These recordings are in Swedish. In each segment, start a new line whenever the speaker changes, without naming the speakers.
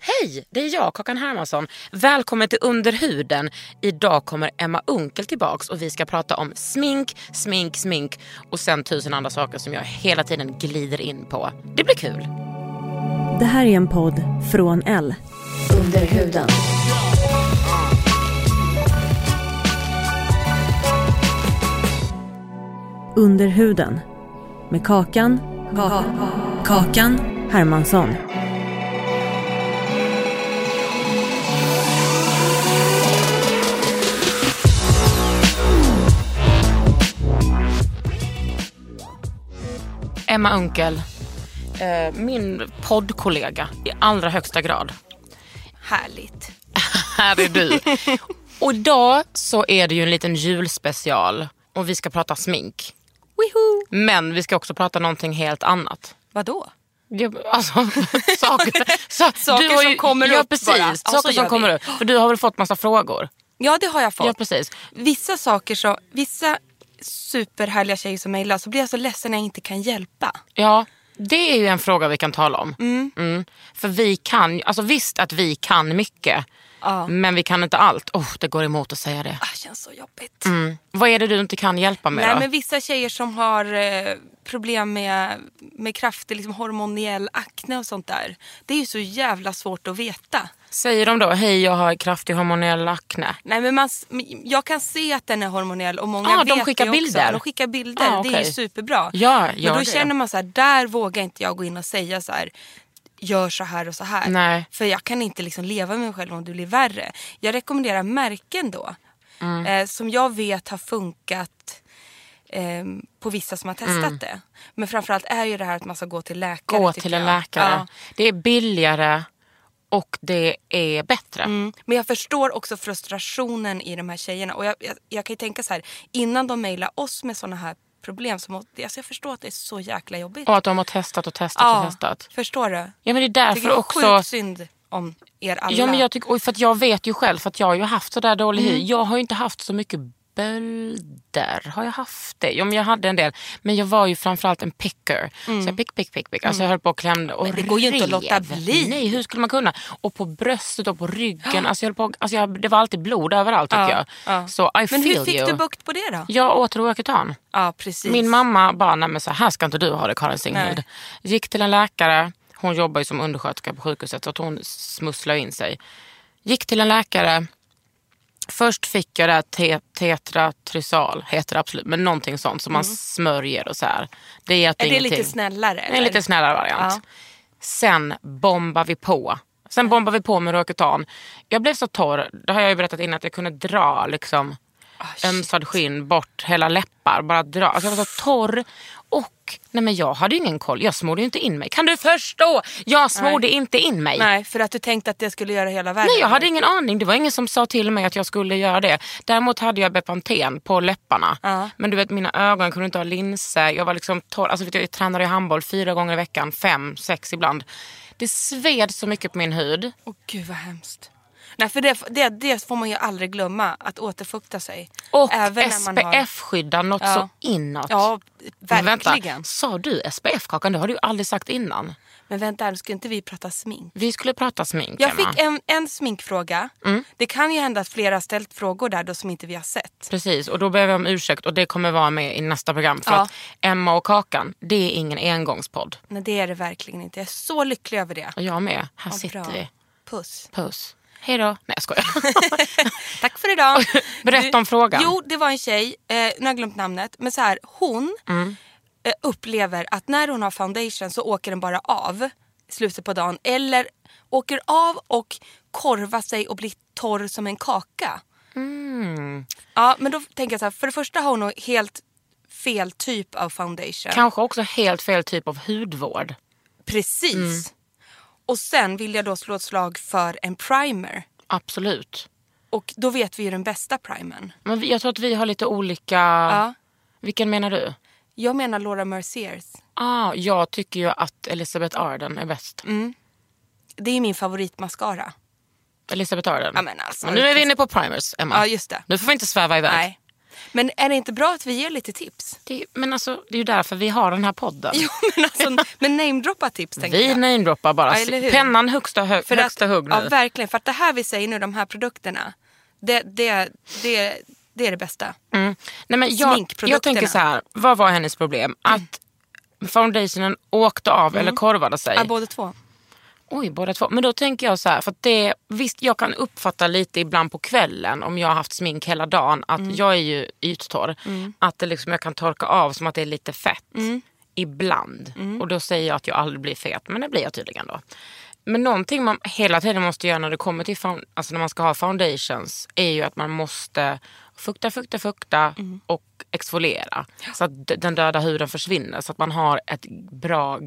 Hej, det är jag, Kakan Hermansson. Välkommen till Underhuden. Idag kommer Emma Unkel tillbaks och vi ska prata om smink, smink, smink och sen tusen andra saker som jag hela tiden glider in på. Det blir kul.
Det här är en podd från L.
Under huden.
Under huden. Med Kakan. Ka- kakan. Hermansson.
Emma Unkel, eh, min poddkollega i allra högsta grad.
Härligt.
Här är du. och idag så är det ju en liten julspecial och vi ska prata smink.
Wihoo!
Men vi ska också prata någonting helt annat.
Vadå?
Ja, alltså, saker, sa-
Saker
du har
som kommer
ja,
upp
precis,
bara. Ja, så
saker
gör
som
vi.
kommer upp. För du har väl fått massa frågor?
Ja, det har jag fått.
Ja, precis.
Vissa saker så, vissa superhärliga tjejer som mejlar så blir jag så ledsen när jag inte kan hjälpa.
Ja, det är ju en fråga vi kan tala om. Mm. För vi kan, alltså visst att vi kan mycket.
Ja.
Men vi kan inte allt. Oh, det går emot att säga det.
Ah, känns så jobbigt.
Mm. Vad är det du inte kan hjälpa med
Nej,
då?
men vissa tjejer som har eh, problem med, med kraftig liksom hormoniell akne och sånt där. Det är ju så jävla svårt att veta.
Säger de då, hej jag har kraftig hormonell akne.
Nej, men man, s- men jag kan se att den är hormonell och många
Ah, de
vet
skickar
det
bilder.
också. De skickar bilder.
Ah,
Det är
okej.
ju superbra.
Ja, gör
men då
det.
känner man så här, där vågar inte jag gå in och säga så här gör så här och så här.
Nej.
För jag kan inte liksom leva med mig själv om det blir värre. Jag rekommenderar märken då.
Mm.
Eh, som jag vet har funkat ehm, på vissa som har testat det. Men framförallt är ju det här att man ska gå till läkare.
Mm. Gå
tycker
till en
jag.
läkare.
Ja.
Det är billigare och det är bättre.
Mm. Men jag förstår också frustrationen i de här tjejerna. Och jag, jag, jag kan ju tänka så här, innan de mejlar oss med såna här problem så måste, alltså jag förstår att det är så jäkla jobbigt.
Och att de har testat och testat och testat.
förstår du?
Ja men det är
Jag
därför
tycker det är
också...
sjukt synd om er alla.
Ja, men jag, tycker, och för att jag vet ju själv, för att jag har ju haft så där dålig
Mm.
hy. Jag har ju inte haft så mycket bölder. Har jag haft det? Jo, men jag hade en del. Men jag var ju framförallt en picker. Så jag pick, pick, pick, pick. Alltså jag höll på och klämde och
Mm. Men det går ju inte
rev.
att låta bli.
Nej, hur skulle man kunna? Och på bröstet och på ryggen. Alltså jag höll på, alltså jag, det var alltid blod överallt tycker
Ja,
jag.
ja.
Så I
men
feel
hur fick
you.
du bukt på det då?
Jag åt roaketan.
Ja, precis.
Min mamma bara, nej men så här ska inte du ha det Karin Singhild.
Nej.
Gick till en läkare, hon jobbar ju som undersköterska på sjukhuset så att hon smusslar in sig. Gick till en läkare, först fick jag det här te- tetratrysal, heter det absolut, men någonting sånt som man smörjer och så här. Det hjälpte
Mm. är det
ingenting.
lite snällare?
Det är en lite snällare variant. Sen bombar vi på. Sen bombar vi på med Roacutan. Jag blev så torr, det har jag ju berättat innan, att jag kunde dra liksom
Ah,
ömsad skinn bort hela läppar. Bara dra. Alltså jag var så torr. Och nej men jag hade ju ingen koll. Jag smorde ju inte in mig. Kan du förstå? Jag smorde inte in mig.
Nej, för att du tänkte att det skulle göra hela världen?
Nej, jag hade ingen aning. Det var ingen som sa till mig att jag skulle göra det. Däremot hade jag Bepanten på läpparna.
Ja.
Men du vet, mina ögon kunde inte ha linser. Jag var liksom torr. Alltså, vet du, jag tränade i handboll fyra gånger i veckan. Fem, sex ibland. Det sved så mycket på min hud.
Åh gud vad hemskt. Nej, för det, det, det får man ju aldrig glömma, att återfukta sig.
Och
när man har-
SPF-skydda något
Ja.
så inåt.
Ja,
Men
verkligen.
Vänta, sa du SPF-kakan? Det har du ju aldrig sagt innan.
Men vänta, ska inte vi prata smink?
Vi skulle prata smink,
Jag
Emma.
fick en, en sminkfråga.
Mm.
Det kan ju hända att flera har ställt frågor där då som inte vi har sett.
Precis, och då behöver jag om ursäkt och det kommer vara med i nästa program. För
Ja.
att Emma och Kakan, det är ingen engångspodd.
Nej, det är det verkligen inte. Jag är så lycklig över det.
Och jag med. Här
Ja,
sitter
bra.
vi.
Puss.
Puss. Hej då. Nej jag skojar.
Tack för idag.
Berätta om frågan.
Jo, det var en tjej, eh, nu har jag glömt namnet, men så
Mm.
här, hon eh, upplever att när hon har foundation så åker den bara av. slutet på dagen eller åker av och korvar sig och blir torr som en kaka.
Mm.
Ja, men då tänker jag så här, för det första har hon nog helt fel typ av foundation.
Kanske också helt fel typ av hudvård.
Precis.
Mm.
Och sen vill jag då slå ett slag för en primer.
Absolut.
Och då vet vi ju den bästa primern.
Men vi, jag tror att vi har lite olika...
Ja.
Vilken menar du?
Jag menar Laura Merciers.
Ah, jag tycker ju att Elisabeth Arden är bäst.
Mm. Det är ju min favoritmascara.
Elisabeth Arden.
Ja, men alltså.
Men nu är vi inne på primers, Emma.
Ja, just det.
Nu får vi inte sväva iväg.
Nej. Men är det inte bra att vi ger lite tips?
Det, men alltså, det är ju därför vi har den här podden.
Jo, men alltså, men namedroppa tips tänker
vi
jag.
namedroppar bara.
Ja, eller hur?
Pennan högsta, hö,
För
högsta
att,
hugg nu.
Ja, verkligen. För att det här vi säger nu, de här produkterna, det, det, det, det är det bästa.
Mm. Nej, men jag,
Sminkprodukterna.
jag tänker så här, vad var hennes problem? Att foundationen åkte av
Mm.
eller korvade sig.
Ja, båda två.
Oj, båda två. Men då tänker jag så här, för att det, visst jag kan uppfatta lite ibland på kvällen om jag har haft smink hela dagen att jag är ju yttorr. Att det liksom, jag kan torka av som att det är lite fett. Ibland. Och då säger jag att jag aldrig blir fet, men det blir jag tydligen då. Men någonting man hela tiden måste göra när det kommer till found- alltså när man ska ha foundations är ju att man måste fukta, fukta, fukta och exfoliera. Så att d- den döda huden försvinner. Så att man har ett bra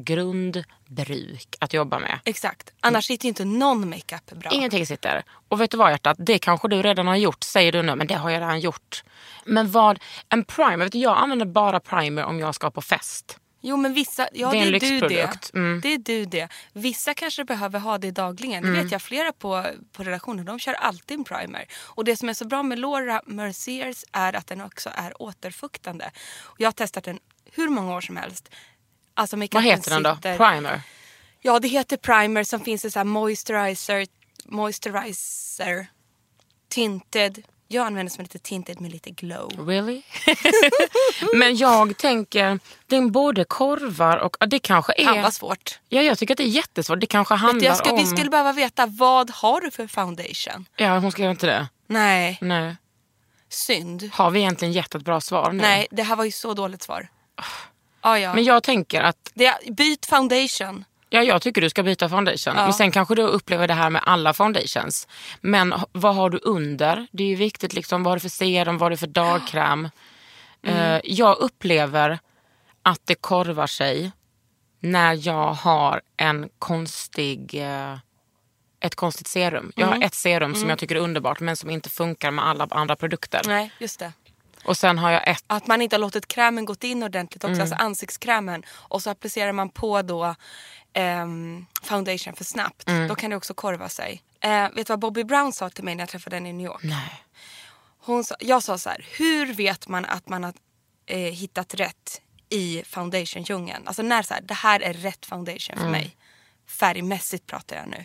grundbruk att jobba med.
Exakt. Annars sitter ju inte någon makeup bra.
Ingenting sitter. Och vet du vad hjärtat, det kanske du redan har gjort säger du nu, men det har jag redan gjort. Men vad, en primer, vet du, jag använder bara primer om jag ska på fest.
Jo men vissa, ja
Det
det
är en
är, du
lyxprodukt.
det.
Mm.
Det är du det. Vissa kanske behöver ha det dagligen.
Mm.
Det vet jag flera på, på redaktionen, de kör alltid en primer. Och det som är så bra med Laura Merciers är att den också är återfuktande. Och jag har testat den hur många år som helst. Alltså
Vad
makeupen
heter den då?
sitter-
Primer?
Ja det heter primer som finns i så här moisturizer, moisturizer, tinted. Jag använder som heter tinted med lite glow.
Really? men jag tänker, den både korvar och, ja, det kanske är...
Fan vad svårt.
Ja, jag tycker att det är jättesvårt. Det kanske handlar
Jag skulle,
om...
vi skulle behöva veta vad har du för foundation?
Ja, hon skrev inte det.
Nej,
Nej.
synd.
Har vi egentligen gett ett bra svar nu?
Nej, det här var ju så dåligt svar. Ah, ja.
Men jag tänker att
det, byt foundation.
Ja, jag tycker du ska byta foundation. Men sen kanske du upplever det här med alla foundations. Men h- vad har du under? Det är ju viktigt. Liksom, vad har du för serum? Vad har du för dagkräm? Eh, jag upplever att det korvar sig när jag har en konstig, eh, ett konstigt serum. Jag har ett serum som jag tycker är underbart men som inte funkar med alla andra produkter.
Nej, just det.
Och sen har jag ett...
Att man inte har låtit krämen gått in ordentligt också, alltså ansiktskrämen. Och så applicerar man på då ehm, foundation för snabbt. Då kan det också korva sig. Eh, vet du vad Bobby Brown sa till mig när jag träffade henne i New York?
Nej.
Hon sa, jag sa så här, hur vet man att man har eh, hittat rätt i foundationdjungeln? Alltså när så här, det här är rätt foundation för mig. Färgmässigt pratar jag nu.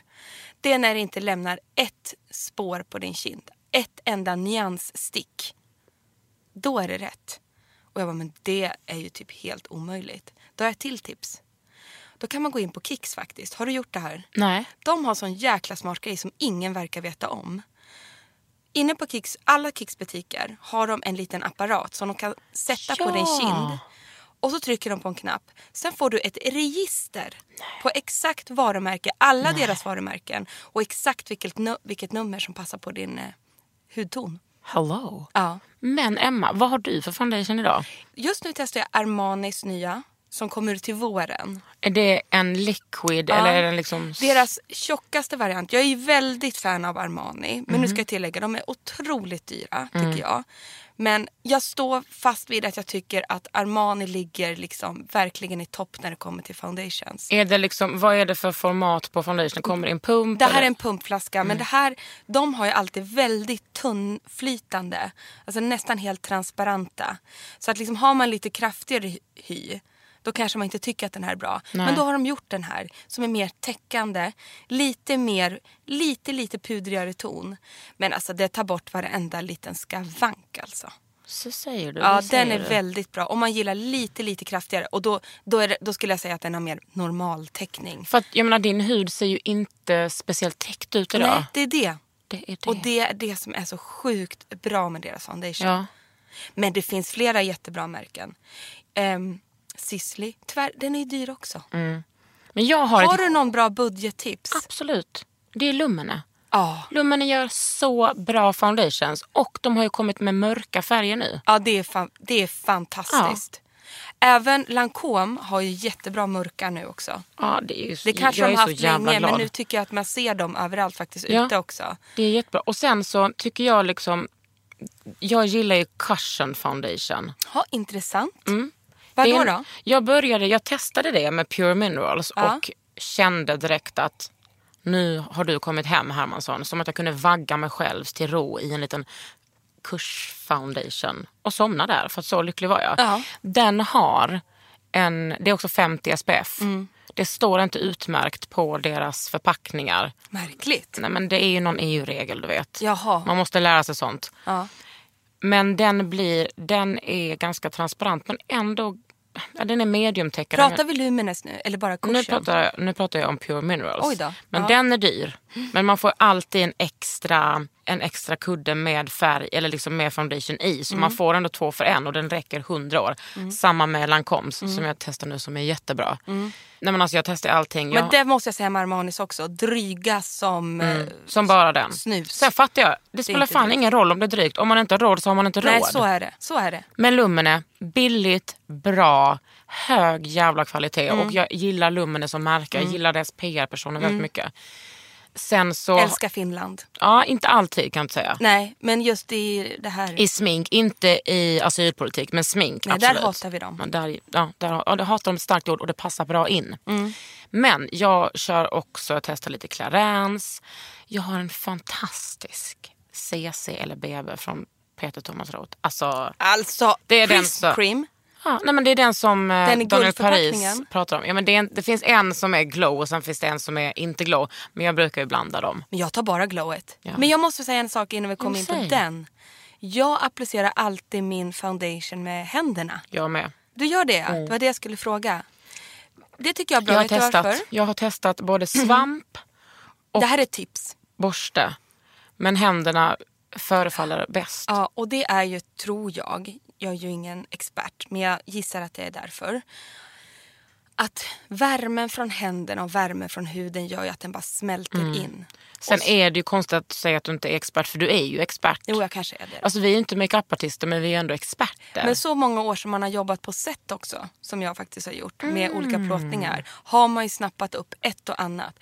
Det är när det inte lämnar ett spår på din kind. Ett enda nyansstick. Då är det rätt. Och jag bara, men det är ju typ helt omöjligt. Då har jag ett till tips. Då kan man gå in på Kicks faktiskt. Har du gjort det här?
Nej.
De har sån jäkla smart grej som ingen verkar veta om. Inne på Kicks, alla Kicks butiker har de en liten apparat som de kan sätta på din
Ja.
kind. Och så trycker de på en knapp. Sen får du ett register på exakt varumärke, alla deras varumärken och exakt vilket, nu- vilket nummer som passar på din eh, hudton.
Hello.
Ja.
Men Emma, vad har du för foundation idag?
Just nu testar jag Armanis nya som kommer till våren.
Är det en liquid eller är den liksom...
Deras tjockaste variant. Jag är ju väldigt fan av Armani. Men
Mhm.
nu ska jag tillägga, de är otroligt dyra
Mm.
tycker jag. Men jag står fast vid att jag tycker att Armani ligger liksom verkligen i topp när det kommer till foundations.
Är det liksom, vad är det för format på foundation? Kommer det en pump?
Det här är
eller? Mm.
en pumpflaska, men det här, de har ju alltid väldigt tunnflytande. Alltså nästan helt transparenta. Så att liksom har man lite kraftigare hy- hy, då kanske man inte tycker att den här är bra. Men då har de gjort den här som är mer täckande. Lite mer, lite lite pudrigare ton. Men alltså det tar bort varenda liten skavank alltså.
Så säger du.
Ja,
det säger
den är
du.
väldigt bra. Om man gillar lite lite kraftigare. Och då, då, är det, då skulle jag säga att den har mer normal täckning.
För att jag menar din hud ser ju inte speciellt täckt ut idag.
Nej, det är det.
det är det.
Och det är det som är så sjukt bra med deras foundation.
Ja.
Men det finns flera Ehm, jättebra märken. Um, Sisley, tyvärr, den är ju dyr också.
Men jag Mm. har,
Har
ett... Ah.
du någon bra budgettips?
Absolut. Det är Lumene.
Ja.
Lumene gör så bra foundations och de har ju kommit med mörka färger nu.
Ja, det är, fan, det är fantastiskt. Även Lancôme har ju jättebra mörka nu också.
Ja, det är ju,
Det kanske
jag
de
är
har
så
haft
jävla
länge,
glad.
men nu tycker jag att man ser dem överallt faktiskt
Ja.
ute också.
Det är jättebra. Och sen så tycker jag liksom... Jag gillar ju Cushion Foundation.
Ja, intressant.
Mm.
Vadå
Det är en-
då?
Jag började, jag testade det med Pure Minerals
Ja.
och kände direkt att nu har du kommit hem Hermansson. Som att jag kunde vagga mig själv till ro i en liten kursfoundation och somna där för att så lycklig var jag.
Ja.
Den har en, det är också 50 SPF.
Mm.
Det står inte utmärkt på deras förpackningar.
Märkligt.
Nej, men det är ju någon EU-regel du vet.
Jaha.
Man måste lära sig sånt.
Ja.
Men den, blir, den är ganska transparent men ändå ja, den är mediumtäckande.
Pratar vi Lumines nu eller bara kursen?
nu pratar, jag, nu pratar jag om Pure Minerals.
Oj då.
Men
Ja.
den är dyr. Men man får alltid en extra, en extra kudde med färg eller liksom med foundation i. Så
Mm.
man får ändå två för en och den räcker 100 år. Samma med Lancoms
Mm.
som jag testar nu som är jättebra. Nej, men alltså, jag testar allting.
Men
jag,
det måste jag säga med Armanis också. Dryga som... eh,
Mm. som bara den.
Snus.
Sen fattar jag, det spelar
inte
fan
drygt.
ingen roll om det är drygt. Om man inte har råd så har man inte
Nej,
råd.
så är det. Så är det.
Men Lumene, billigt, bra, hög jävla kvalitet.
Mm.
Och jag gillar Lumene som märke. Jag gillar deras PR-personer väldigt mycket. Sen så...
Älskar Finland.
Ja, inte alltid kan jag inte säga.
Nej, men just i det här.
I smink, inte i asylpolitik, men smink.
Nej, där
absolut.
hatar vi dem.
Ja, där, ja, där, ja, det hatar de ett starkt ord och det passar bra in.
Mm.
Men jag kör också, jag testar lite Clarence. Jag har en fantastisk CC eller BB från Peter Thomas Roth. Alltså,
Alltså,
Det är den
Prism
som-
Cream.
Ja, nej, men det är den som eh,
Den i
Daniel Paris
guldförpackningen.
pratar om. Ja, men det, är en, det finns en som är glow och sen finns det en som är inte glow. Men jag brukar ju blanda dem.
Men jag tar bara glowet.
Ja.
Men jag måste säga en sak innan vi kommer
men
in på
säg.
den. Jag applicerar alltid min foundation med händerna.
Jag med.
Du gör det? Det var det jag skulle fråga. Det tycker jag är bra.
Mm. Jag har,
Vet du
testat,
varför?
jag har testat både svamp,
Det här är ett tips.
borste. Men händerna förefaller bäst.
Ja, och det är ju, tror jag, jag är ju ingen expert, men jag gissar att det är därför. Att värmen från händerna och värmen från huden gör ju att den bara smälter
Mm.
in.
Sen är det ju konstigt att säga att du inte är expert för du är ju expert.
Jo, jag kanske är det.
Alltså vi är ju inte makeupartister men vi är ändå experter.
Men så många år som man har jobbat på set också, som jag faktiskt har gjort, med
Mm.
olika plåtningar, har man ju snappat upp ett och annat.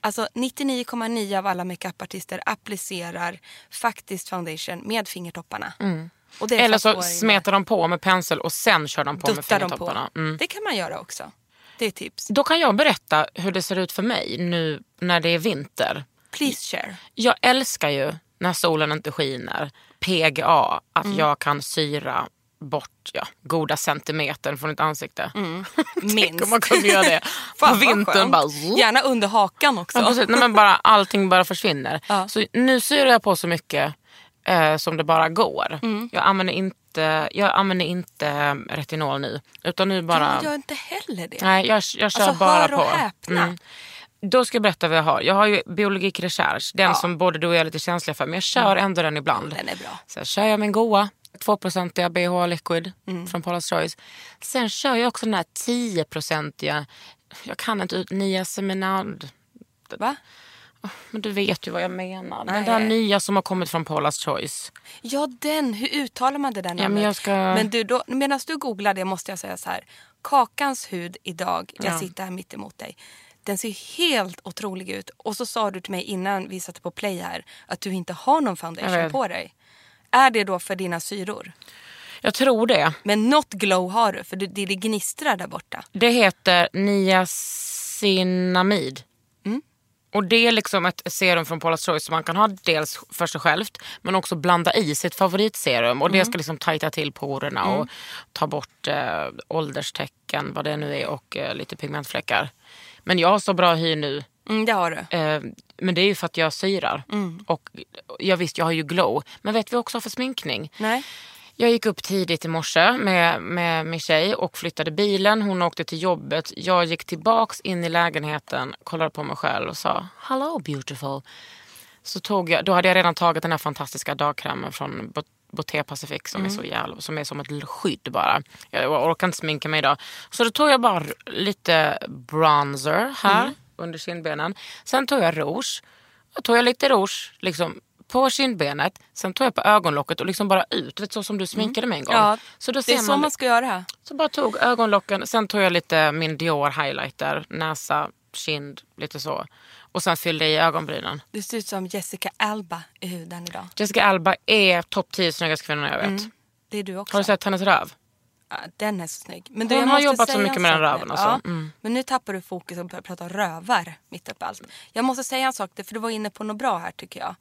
Alltså 99,9 av alla makeupartister applicerar faktiskt foundation med fingertopparna. Och det är för
Mm. Eller
att få
så
in-
smetar de på med pensel och sen kör de på med
duttar de
fingertopparna.
på.
Mm.
Det kan man göra också. Det är tips.
Då kan jag berätta hur det ser ut för mig nu när det är vinter.
Please share.
Jag älskar ju när solen inte skiner, PGA, att
Mm.
jag kan syra bort ja, goda centimetern från ett ansikte. Tänk om man kunde göra det på
Mm. Fan, vad
vintern.
skönt.
Bara,
Gärna under hakan också.
ja, precis. Nej, men bara, allting bara försvinner.
Ja.
Så nu syrar jag på så mycket eh, som det bara går.
Mm.
Jag, använder inte, jag använder inte eh, retinol nu. Utan nu bara...
Jag gör inte heller det.
Nej, jag, jag kör
Alltså,
bara
hör
på. Mm.
och häpna.
Då ska jag berätta vad jag har. Jag har ju biologik recherche, den som både du och jag är lite känsliga för. Men jag kör ändå den ibland.
Mm. Den är bra.
Sen kör jag min goa 2-procentiga BHA Liquid
Mm.
från Paula's Choice. Sen kör jag också den här 10-procentiga, jag kan inte ut, nya seminad.
Va?
Men du vet ju vad jag menar. Den
Nej.
där nya som har kommit från Paula's Choice.
Ja, den. Hur uttalar man det där namnet?
men jag ska-
Men du, då, medan du googlar det måste jag säga så här. Kakans hud idag, jag
Ja.
sitter här mitt emot dig. Den ser helt otrolig ut. Och så sa du till mig innan vi satte på play här att du inte har någon
Jag
foundation
vet.
på dig. Är det då för dina syror?
Jag tror det.
Men något glow har du, för det, det gnistrar där borta.
Det heter niacinamid. Och det är liksom ett serum från Paula's Choice som man kan ha dels för sig självt men också blanda i sitt favoritserum. Och det ska liksom tajta till porerna och ta bort eh, ålderstecken, vad det nu är, och eh, lite pigmentfläckar. Men jag har så bra hy nu.
Mm, det har du.
Eh, men det är ju för att jag syrar. Och jag visst, jag har ju glow. Men vet vi också för sminkning?
Nej.
Jag gick upp tidigt i morse med, med min tjej och flyttade bilen. Hon åkte till jobbet. Jag gick tillbaks in i lägenheten, kollade på mig själv och sa Hello beautiful. Så tog jag, då hade jag redan tagit den här fantastiska dagkrämen från Bot- Bottega Pacific som är
Mm.
så jävla, som är som ett skydd bara. Jag orkar inte sminka mig idag. Så då tog jag bara lite bronzer här
Mm.
under kindbenen. Sen tog jag rouge. Då tog jag lite rouge liksom på kindbenet. Sen tog jag på ögonlocket och liksom bara ut. Vet, så som du sminkade mig en gång.
Mm. Ja,
så då ser
Det är så man ska göra.
så bara tog ögonlocken, sen tog jag lite min Dior highlighter, näsa, kind, lite så. Och sen fyllde jag i ögonbrynen.
Du ser ut som Jessica Alba i huden idag.
Jessica Alba är topp 10 snyggaste kvinnan jag vet.
Mm. Det är du också.
Har du sett hennes röv?
Ja, den är så snygg. Men du,
Hon
jag
har
måste
jobbat så
säga
mycket
en
med den
sak
röven
nu.
alltså.
Ja, Men nu tappar du fokus och börjar prata rövar mitt uppe i allt. Jag måste säga en sak, för du var inne på något bra här tycker jag.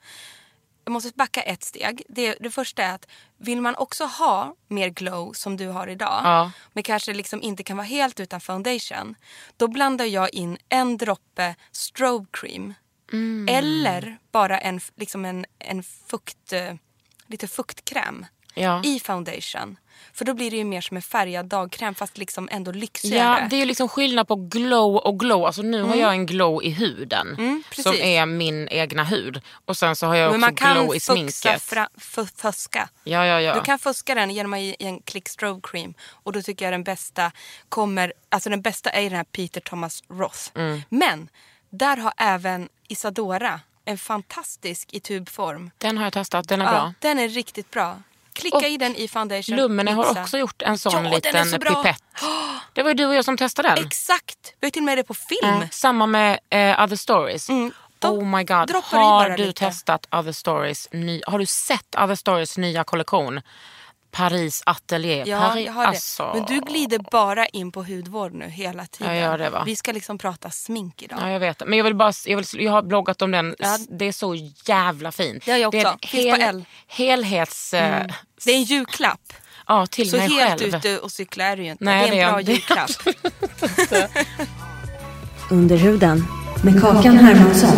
Jag måste backa ett steg. Det, det första är att vill man också ha mer glow som du har idag
Ja.
men kanske liksom inte kan vara helt utan foundation då blandar jag in en droppe strobe cream
Mm.
eller bara en, f- liksom en, en fukt, eh, lite fuktkräm
Ja.
i foundation. För då blir det ju mer som en färgad dagkräm fast liksom ändå lyxigare.
Ja, det är ju liksom skillnad på glow och glow. Alltså nu har jag en glow i huden
Mm. precis.
som är min egna hud. Och sen så har jag
Men
också
man kan
glow i
fuxa
sminket.
fra, f- fuska.
Ja, ja, ja.
Du kan fuska den genom att ge en klick strobe cream. Och då tycker jag den bästa kommer, alltså den bästa är den här Peter Thomas Roth.
Mm.
Men där har även Isadora en fantastisk i tubform.
Den har jag testat, den är bra.
den är riktigt bra. Klicka
Och
i den i foundation.
Lumene har
mixa.
också gjort en sån
Ja, den är
liten
så bra.
pipett. Det var ju du och jag som testade den.
Exakt! Vi har till och med det på film.
Mm. Samma med eh, Other Stories.
De
oh my god.
Mm. droppar
Har
i bara
du
lite.
testat Other Stories ny, Har du sett Other Stories nya kollektion? Paris Atelier.
Ja,
Paris,
jag har det.
alltså.
Men du glider bara in på hudvård nu hela tiden.
Jag gör det, va?
Vi ska liksom prata smink idag.
Ja, jag vet. Men jag, vill bara, jag, vill, jag har bloggat om den.
Ja.
Det är så jävla fint.
Det har jag
är
också.
en
Finns på L. Mm.
Helhets... eh,
Det är en julklapp.
Ja, till
Så
mig
helt
själv.
ute och cykla är du ju inte.
Nej,
det är en bra
det är-
julklapp.
Under huden med Kakan Hermansson.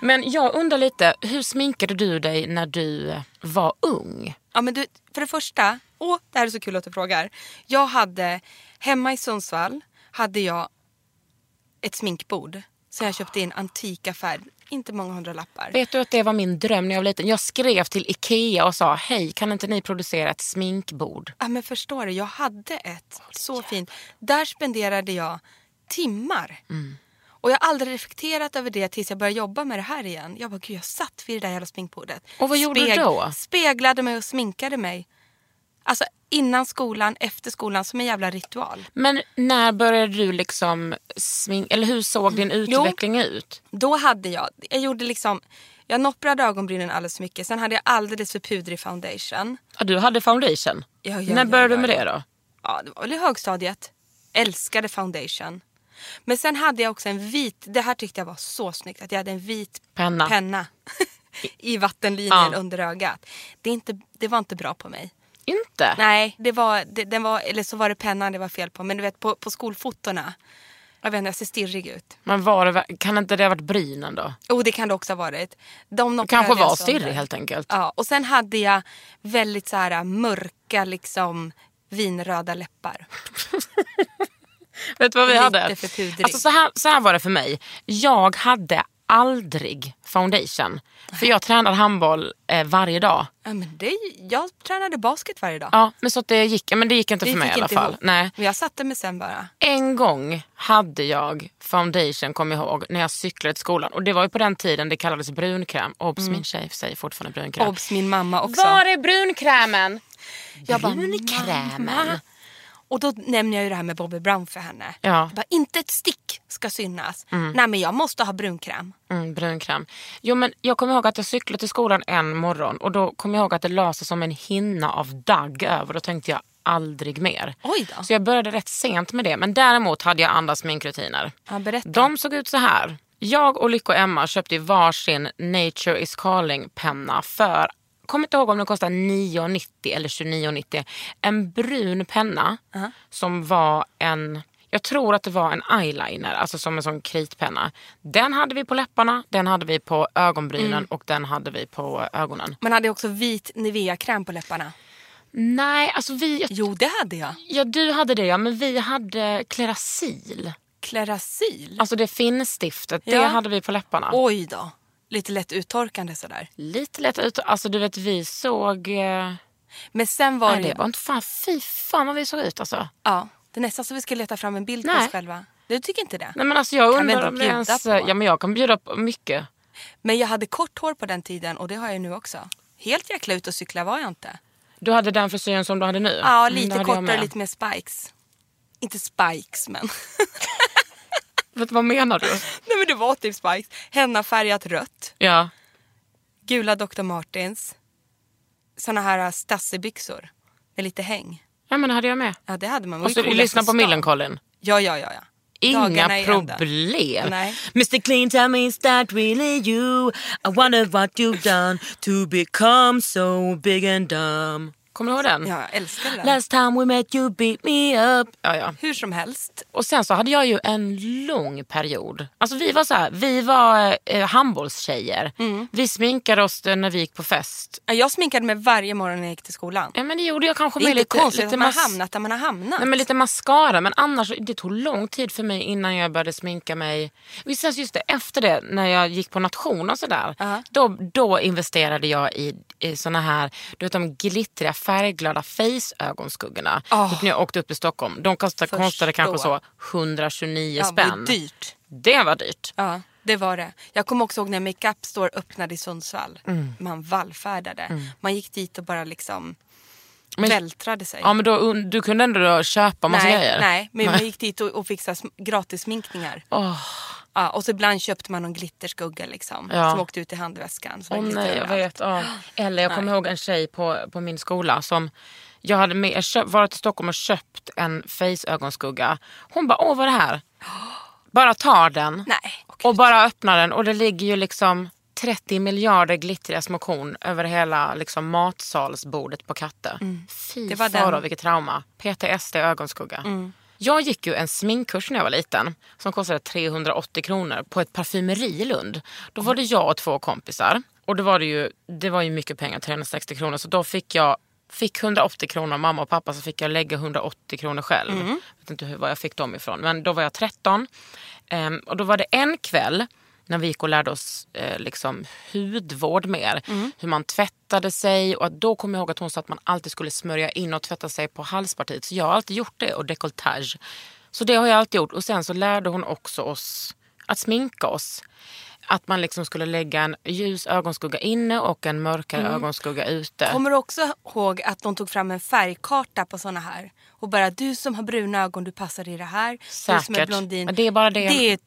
Men jag undrar lite, hur sminkade du dig när du var ung?
Ja, men du, för det första, åh, det här är så kul att du frågar. Jag hade, hemma i Sundsvall hade jag ett sminkbord. Så jag köpte in antika färg, inte många hundra lappar.
Vet du att det var min dröm när jag var liten? Jag skrev till Ikea och sa, hej kan inte ni producera ett sminkbord?
Ja, men förstår du, jag hade ett så fint. Där spenderade jag timmar.
Mm.
Och jag har aldrig reflekterat över det tills jag började jobba med det här igen. Jag bara, gud jag satt vid det där jävla sminkbordet.
Och vad gjorde du då?
Speglade mig och sminkade mig. Alltså innan skolan, efter skolan, som en jävla ritual.
Men när började du liksom sminka, eller hur såg din utveckling ut?
Då hade jag, jag gjorde liksom, jag nopprade ögonbrynen alldeles för mycket. Sen hade jag alldeles för pudrig foundation.
Ja, du hade foundation.
Ja, ja,
när
ja,
började
ja,
du med
ja.
det då?
ja, det var väl i högstadiet. Älskade foundation. Men sen hade jag också en vit, det här tyckte jag var så snyggt, att jag hade en vit
Penna.
penna i vattenlinjen
Ja.
under ögat. Det, är inte, det var inte bra på mig.
Inte?
Nej, det var, det, den var, eller så var det pennan det var fel på. Men du vet på, på skolfotorna, jag vet inte, jag ser stirrig ut.
Men var det, ver- kan inte det ha varit brynen då?
Oh, det kan det också ha varit. De
Du kanske
nopprade jag
var
sönder.
stirrig helt enkelt.
Ja, och sen hade jag väldigt så här mörka liksom vinröda läppar.
Vet du vad vi
Lite
hade?
för pudrig.
Alltså så, här, så här var det för mig. Jag hade aldrig foundation. För jag tränar handboll eh, varje dag.
Ja, men det, jag tränade basket varje dag.
Ja, men så att det gick, men det gick inte
Det
för mig
gick
i alla
inte
fall.
ihop.
Nej.
Men jag satte mig sen bara.
En gång hade jag foundation, kom jag ihåg, när jag cyklade till skolan. Och det var ju på den tiden det kallades brunkräm. Obs, min tjej säger fortfarande brunkräm.
Mm. Obs, min mamma också.
Var är brunkrämen? Jag bara,
"Mamma."
brunkrämen?
Och då nämner jag ju det här med Bobby Brown för henne.
Ja.
Jag bara, inte ett stick ska synas. Nej men jag måste ha brunkräm.
Mm, brunkräm. Jo, men jag kommer ihåg att jag cyklade till skolan en morgon och då kommer jag ihåg att det la sig som en hinna av dagg över. Då tänkte jag aldrig mer.
Oj då.
Så jag började rätt sent med det. Men däremot hade jag andra sminkrutiner.
Ja, berätta.
De såg ut så här. Jag och Lycka och Emma köpte varsin Nature is calling penna för, kommer inte ihåg om den kostade 9,90 eller 29,90. En brun penna som var en, jag tror att det var en eyeliner, alltså som en sån kritpenna. Den hade vi på läpparna, den hade vi på ögonbrynen och den hade vi på ögonen.
Man hade också vit Nivea-kräm på läpparna.
Nej, alltså vi, jag,
Jo det hade jag.
ja du hade det ja, men vi hade Clarasil.
Clarasil.
Alltså det finnstiftet, det
Ja.
hade vi på läpparna.
Oj då. Lite lätt uttorkande sådär.
lite lätt ut. Alltså du vet vi såg... Eh,
Men sen var
nej,
det,
det var inte fan, fy fan vad vi såg ut alltså.
Ja, det är nästan så vi ska leta fram en bild på
Nej.
oss själva. Du tycker inte det?
Nej men alltså jag
Kan vi
undrar
ändå
om det
bjuda
ens... eh,
på?
Ja men jag kan bjuda på mycket.
Men jag hade kort hår på den tiden och det har jag nu också. Helt jäkla ut och cykla var jag inte.
Du hade den frisyren som du hade nu?
Ja,
Mm, det
lite
hade jag
kortare,
med.
lite mer spikes. Inte spikes men.
Vet, du, vad menar du?
Nej men det var typ spikes. Hennafärgat rött,
Ja.
gula Dr. Martens. Såna här äh, stassebyxor med lite häng.
ja men det hade jag med.
Ja det hade man. Man
Och så
var ju coolast
lyssna på
stan.
Millencolin.
Ja, ja, ja. ja.
Inga
Dagarna i ända.
problem.
Nej.
Mr Clean tell me is that really you? I wonder what you've done to become so big and dumb. Kommer du ihåg den?
Ja, jag älskar det.
Last time we met you beat me up. Ja, ja.
Hur som helst.
Och sen så hade jag ju en lång period. Alltså vi var så här, vi var eh, handbollstjejer.
Mm.
Vi sminkade oss eh, när vi gick på fest.
Ja, Jag sminkade mig varje morgon när jag gick till skolan.
Ja men det gjorde jag kanske
Det är
med
inte
lite,
konstigt
lite
att man har
mas-
hamnat där man har hamnat.
Nej, men lite mascara. Men annars, det tog lång tid för mig innan jag började sminka mig. Men sen så just det, efter det, när jag gick på nation och sådär. Då, då investerade jag i, i såna här, du vet de glittriga färgglada face-ögonskuggorna. Typ när jag åkte upp till Stockholm. De kostade,
Förstå.
kostade kanske så 129
ja, det
spänn.
var dyrt.
Det var dyrt.
Ja, det var det. Jag kommer också ihåg när Makeup Store öppnade i Sundsvall.
Mm.
Man vallfärdade. Man gick dit och bara liksom
Men-
vältrade sig.
Ja, men då, un- du kunde ändå då köpa massa
nej,
grejer.
nej, men man gick dit och, och fixade sm- gratissminkningar. Ja, och så ibland köpte man någon glitterskugga liksom,
Ja.
som åkte ut i handväskan. Så var
Åh,
det glitter
nej, jag
överallt.
vet. Ja. Eller jag kommer ihåg en tjej på, på min skola som jag hade med, jag köpt, varit i Stockholm och köpt en face-ögonskugga. Hon bara, åh vad är det här? Bara tar den
Nej.
och bara öppnar den och det ligger ju liksom 30 miljarder glittriga små korn över hela liksom, matsalsbordet på Katte.
Mm.
Fy
Det var
fara,
den. Mm.
vilket trauma. PTSD ögonskugga. Jag gick ju en sminkkurs när jag var liten som kostade 380 kronor på ett parfymeri i Lund. Då var det jag och två kompisar. Och då var det ju, det var ju mycket pengar, 360 kronor. Så då fick jag Fick 180 kronor av mamma och pappa så fick jag lägga 180 kronor själv.
Mm.
Jag vet inte hur, var jag fick dem ifrån. Men då var jag 13. Ehm, och då var det en kväll när vi gick och lärde oss eh, liksom, hudvård mer.
Mm.
Hur man tvättade sig. Och att då kom jag ihåg att hon sa att man alltid skulle smörja in och tvätta sig på halspartiet. Så jag har alltid gjort det och décolletage. Så det har jag alltid gjort. Och sen så lärde hon också oss att sminka oss. Att man liksom skulle lägga en ljus ögonskugga inne och en mörkare ögonskugga ute.
Mm. Kommer du också ihåg att de tog fram en färgkarta på såna här? Och bara du som har bruna ögon, du passar i det här. Du som är
Säkert.
blondin.
Men det är bara det-
det, är-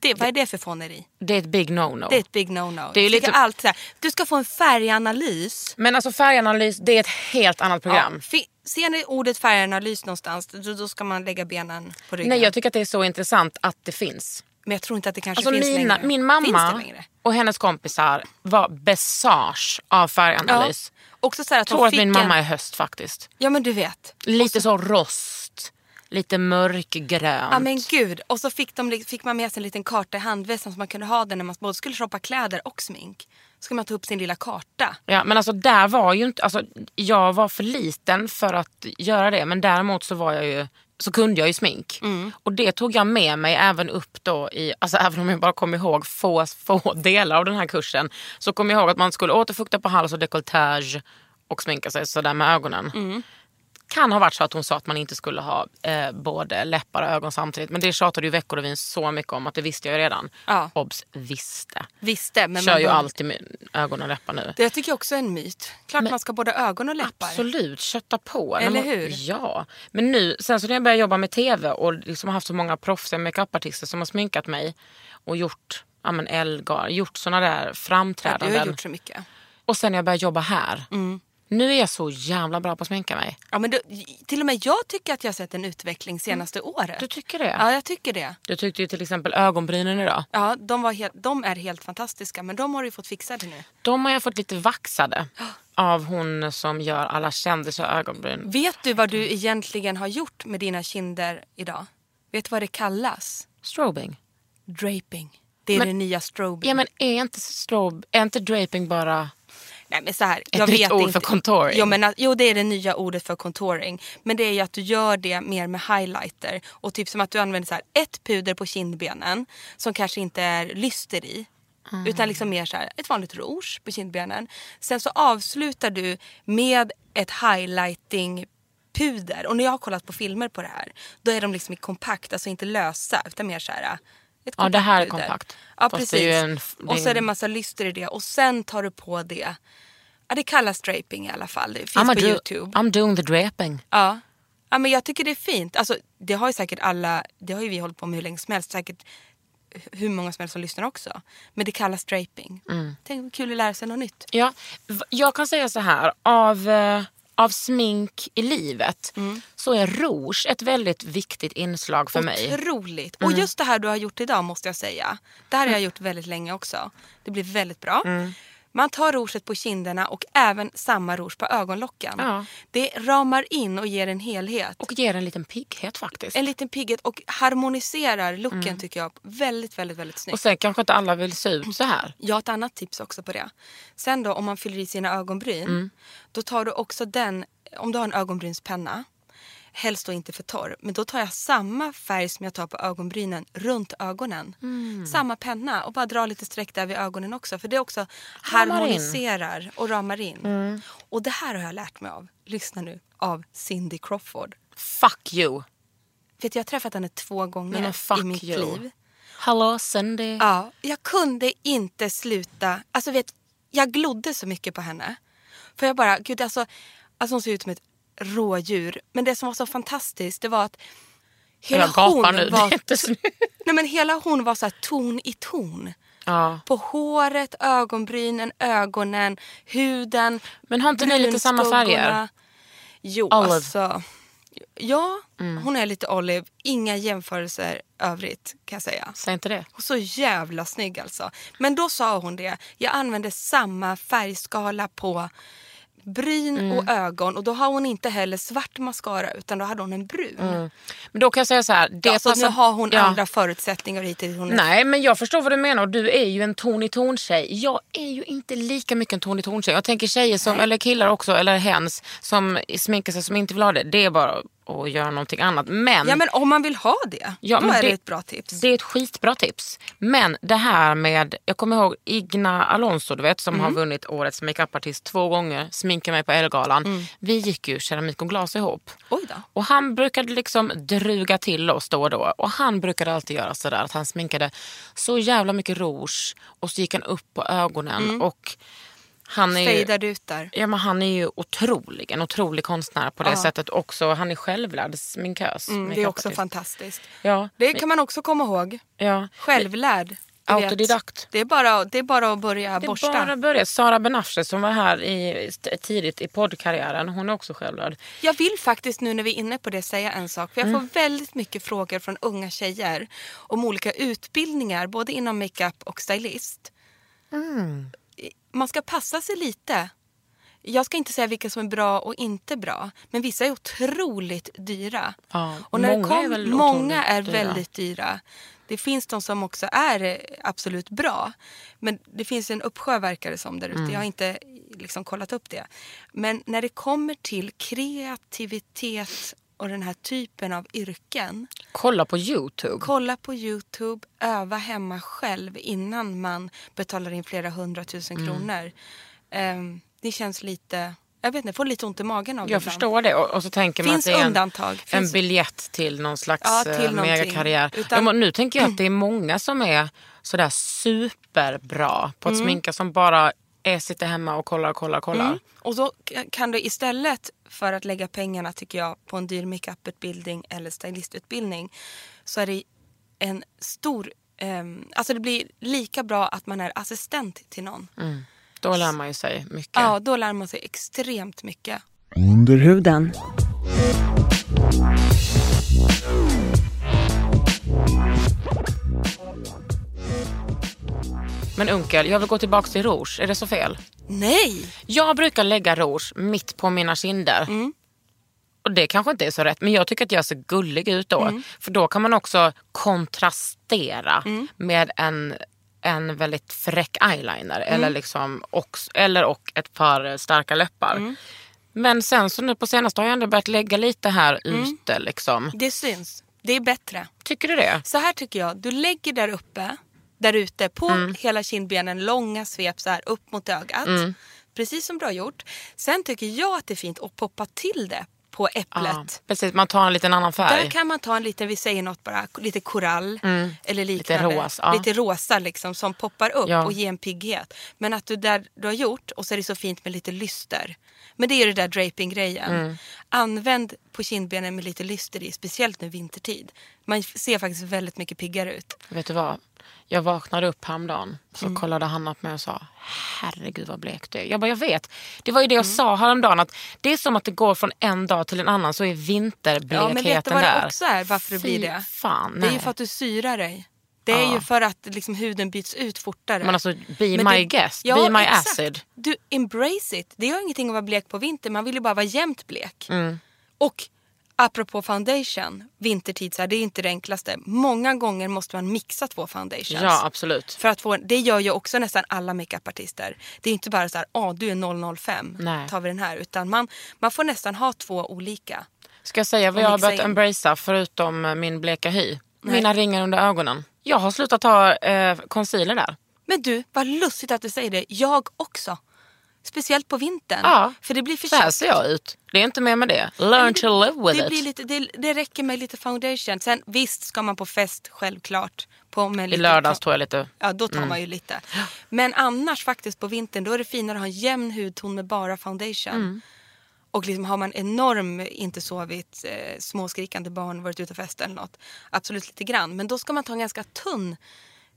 det vad är det för fåneri?
Det är ett big no-no.
Det är ett big no-no.
Det är
Jag tycker
lite-
allt så här, du ska få en färganalys.
Men alltså färganalys, det är ett helt annat program.
Ja, fi- ser ni ordet färganalys någonstans, då, då ska man lägga benen på ryggen.
Nej, jag tycker att det är så intressant att det finns.
Men jag tror inte att det kanske
Alltså
finns
mina,
längre.
min
Finns det
mamma
längre?
och hennes kompisar var besage av
Ja.
färganalys.
Också så här att
Jag tror
de
att
fick
min mamma
en...
är höst faktiskt.
Ja men du vet.
Lite så rost, lite mörkgrönt.
Ja men gud. Och så fick, de, li- fick man med sig en liten karta i handväskan som man kunde ha den när man både skulle shoppa kläder och smink. Så skulle man ta upp sin lilla karta.
Ja, men alltså där var ju inte, alltså, jag var för liten för att göra det men däremot så var jag ju så kunde jag ju smink.
Mm.
Och det tog jag med mig även upp då i, alltså även om jag bara kom ihåg få, få delar av den här kursen. Så kom jag ihåg att man skulle återfukta på hals och dekolletage och sminka sig sådär med ögonen.
Mm.
Kan ha varit så att hon sa att man inte skulle ha eh, både läppar och ögon samtidigt. Men det tjatade ju Veckorevyn så mycket om att det visste jag ju redan.
Ja.
Obs, visste.
Visste. Men
Kör
man
ju
bara-
alltid med ögon och läppar nu.
Det tycker jag också är en myt. Klart
Men-
man ska ha både ögon och läppar.
Absolut, kötta på. När
Eller
man,
hur?
Ja. Men nu, sen så när jag började jobba med tv och liksom har haft så många proffsiga makeupartister som har sminkat mig och gjort ja, men Elgar, gjort såna där
Ja, Du
framträdanden.
har gjort Mm. så mycket.
Och sen när jag började jobba här. Nu är jag så jävla bra på att sminka mig.
Ja, men du, till och med jag tycker att jag har sett en utveckling senaste året.
Mm. Du tycker det?
Ja, jag tycker det.
Du tyckte ju till exempel ögonbrynen idag.
Ja, de, var helt, de är helt fantastiska, men de har du ju fått fixade nu.
De har jag fått lite vaxade av hon som gör alla kändisar ögonbryn.
Vet du vad du egentligen har gjort med dina kinder idag? Vet du vad det kallas?
Strobing.
Draping. Det är
Men-
det nya strobing.
Ja men är inte strobe, är inte draping bara...
Nej, men så här,
Ett
jag
nytt
vet
ord
inte.
för contouring.
Jo, men, att- jo, det är det nya ordet för contouring. Men det är ju att du gör det mer med highlighter. Och typ som att du använder så här, ett puder på kindbenen som kanske inte är lyster i.
Ah.
Utan liksom mer så här, ett vanligt rouge på kindbenen. Sen så avslutar du med ett highlighting puder. Och när jag har kollat på filmer på det här då är de liksom i kompakt, alltså inte lösa utan mer så här ett
Ja, det här är
kompakt puder.
kompakt.
Ja,
Fast
precis.
det är ju en f- det är
Och så är
en-
det massa lyster i det och sen tar du på det. Ja, det kallas draping i alla fall. Det finns
I'm, a
på
do-
Youtube.
I'm doing the draping.
Ja. ja, men jag tycker det är fint. Alltså, det har ju säkert alla, det har ju vi hållit på med hur länge som helst. Säkert hur många som helst som lyssnar också. Men det kallas draping.
Mm.
Tänk vad kul att lära sig något nytt.
Ja, v- jag kan säga så här, av, eh, av smink i livet
Mm.
så är rouge ett väldigt viktigt inslag för mig. Mm.
Otroligt. Och just det här du har gjort idag måste jag säga. Det här har jag gjort väldigt länge också. Det blir väldigt bra.
Mm.
Man tar rouget på kinderna och även samma rouge på ögonlocken.
Ja.
Det ramar in och ger en helhet.
Och ger en liten pigghet faktiskt.
En liten pigghet och harmoniserar looken tycker jag. Väldigt, väldigt, väldigt snyggt.
Mm. Och sen kanske inte alla vill se ut så här.
Jag har ett annat tips också på det. Sen då om man fyller i sina ögonbryn.
Mm.
Då tar du också den, om du har en ögonbrynspenna. Helst då inte för torr. Men då tar jag samma färg som jag tar på ögonbrynen runt ögonen.
Mm.
Samma penna och bara drar lite streck där vid ögonen också. För det också
Ramar in. Mm.
harmoniserar och ramar in. Och det här har jag lärt mig av, lyssna nu, av Cindy Crawford.
Fuck you.
Vet du, jag har träffat henne två gånger
Nej, men fuck
i mitt
you.
liv.
Hallå Cindy.
Ja, jag kunde inte sluta. Alltså vet, jag glodde så mycket på henne. För jag bara, gud alltså, alltså hon ser ut som ett rådjur. Men det som var så fantastiskt det var att hela
jag gapar
hon
nu. Det är
var...
inte snyggt.
Nej men hela hon var så här ton i ton.
Ja.
På håret, ögonbrynen, ögonen, huden.
Men har inte ni lite samma
brunstuggorna.
färger?
Jo,
Olive. Mm.
alltså. Ja, hon är lite olive. Inga jämförelser övrigt kan jag säga.
Säg inte det.
Och så jävla snygg alltså. Men då sa hon det. Jag använde samma färgskala på bryn och
Mm.
ögon. Och då har hon inte heller svart mascara utan då hade hon en brun.
Men då kan jag säga så här. Mm. Det
Ja, så
passar-
nu har hon
Ja.
andra förutsättningar hittills. Hon är
Nej, men jag förstår vad du menar. Och Du är ju en ton i ton tjej. Jag är ju inte lika mycket en ton i ton tjej. Jag tänker tjejer som, eller killar också, eller hens som sminkar sig som inte vill ha det. Det är bara att göra någonting annat. Men,
Ja men om man vill ha det,
Ja,
då
men
är det,
det-
ett bra tips.
det är ett skitbra tips. Men det här med, jag kommer ihåg Igna Alonso du vet som
Mm.
har vunnit årets makeupartist två gånger, sminkar mig på Ellegalan. Vi gick ju keramik och glas ihop.
Mm. Oj då.
Och han brukade liksom druga till oss då och då. Och han brukade alltid göra sådär att han sminkade så jävla mycket rouge och så gick han upp på ögonen.
Mm.
Och han är ju,
Fejdar ut där.
Ja, men han är ju otrolig, en otrolig konstnär på det sättet också. Han är självlärd sminkös.
Mm, det är också fantastiskt.
Ja,
Det kan man också komma ihåg.
ja.
Självlärd. du vet.
Autodidakt.
Det är bara, det är bara att börja
Det
borsta.
bara började. Sara Benafshe som var här i, tidigt i poddkarriären, hon är också självlärd.
Jag vill faktiskt nu när vi är inne på det säga en sak. För jag får väldigt mycket frågor från unga tjejer om olika utbildningar både inom makeup och stylist. Man ska passa sig lite. Jag ska inte säga vilka som är bra och inte bra, men vissa är otroligt dyra.
Ja,
och när
många
det
är
kom,
väl
många är
otroligt dyra.
väldigt dyra. Det finns de som också är eh, absolut bra, men det finns en uppsjö verkar det som där ute.
Mm.
Jag har inte liksom kollat upp det. Men när det kommer till kreativitet och den här typen av yrken.
Kolla på YouTube.
Kolla på Youtube, öva hemma själv innan man betalar in flera hundratusen
Mm.
kronor. Ehm, det känns lite... Jag vet inte, jag får lite ont i magen av det
Jag
ibland.
förstår det. Och, och så tänker man
Finns
att det är en,
undantag.
en
Finns-
biljett till någon slags
Ja, till
eh,
någonting.
megakarriär.
Utan-
Ja, men nu tänker jag att det är många som är sådär superbra på att
Mm.
sminka som bara är, sitter hemma och kollar och kollar och kollar.
Och då k- kan du istället för att lägga pengarna tycker jag på en dyr makeuputbildning eller stylistutbildning så är det en stor... ehm, alltså det blir lika bra att man är assistent till någon.
Då lär man ju sig mycket.
Ja, då lär man sig extremt mycket.
Under huden.
Men Unkel, jag vill gå tillbaka till rouge. Är det så fel?
Nej!
Jag brukar lägga rouge mitt på mina kinder.
Mm.
Och det kanske inte är så rätt, men jag tycker att jag ser gullig ut då.
Mm.
För då kan man också kontrastera
Mm.
med en, en väldigt fräck eyeliner.
Mm.
Eller, liksom, och, eller och ett par starka läppar.
Mm.
Men sen så nu på senaste har jag ändå börjat lägga lite här
Mm.
ute. Liksom.
Det syns. Det är bättre.
Tycker du det?
Så här tycker jag. Du lägger där uppe, där ute, på hela kindbenen, långa svep så här upp mot ögat. Precis som du har gjort. Sen tycker jag att det är fint att poppa till det på
Ja,
äpplet.
precis, man tar en liten annan färg.
Där kan man ta en liten, vi säger något bara, lite korall eller liknande.
rosa, Mm. ja.
Lite rosa liksom som poppar upp
Ja.
och ger en pigghet. Men att du där du har gjort och så är det så fint med lite lyster. Men det är ju det där draping-grejen.
Mm.
Använd på kindbenen med lite lyster i, speciellt nu vintertid. Man ser faktiskt väldigt mycket piggare ut.
Vet du vad? Jag vaknade upp häromdagen så
Mm.
kollade Hanna på mig och sa herregud vad blek du är. Jag bara jag vet. Det var ju det
Mm.
jag sa häromdagen att det är som att det går från en dag till en annan så är vinterblekheten
Ja, men vet du vad
där.
det också är? Varför det
Fy
blir det?
Fan,
Det
nej.
är ju för att du syrar dig. Det är
Ja.
ju för att liksom, huden byts ut fortare.
Men alltså, be
Men
my guest,
Ja,
be my
exakt.
acid.
Du, embrace it. Det gör ingenting att vara blek på vintern. Man vill ju bara vara jämnt blek.
Mm.
Och apropå foundation, vintertid, så här, det är inte det enklaste. Många gånger måste man mixa två foundations.
Ja absolut.
För att få, en- det gör ju också nästan alla makeupartister. Det är inte bara så här, ah, du är 005,
Nej.
tar vi den här. Utan man, man får nästan ha två olika.
Ska jag säga vad
Och
jag har
mixa
börjat
in.
embracea förutom eh, min bleka hy? Mina ringar under ögonen. Jag har slutat ha eh, concealer där.
Men du, vad lustigt att du säger det. Jag också. Speciellt på vintern.
Ja.
För det blir för
Så här
tjockt.
ser jag ut. Det är inte mer med det. Learn to live with
det, blir
it.
lite, det, det räcker med lite foundation. Sen visst ska man på fest, självklart. På med
I
lite-
lördags tog jag Mm. lite
Ja, då tar man ju lite. Men annars faktiskt på vintern, då är det finare att ha en jämn hudton med bara foundation.
Mm.
Och liksom har man enorm, inte sovit, eh, småskrikande barn, varit ute och festat eller något. Absolut lite grann. Men då ska man ta en ganska tunn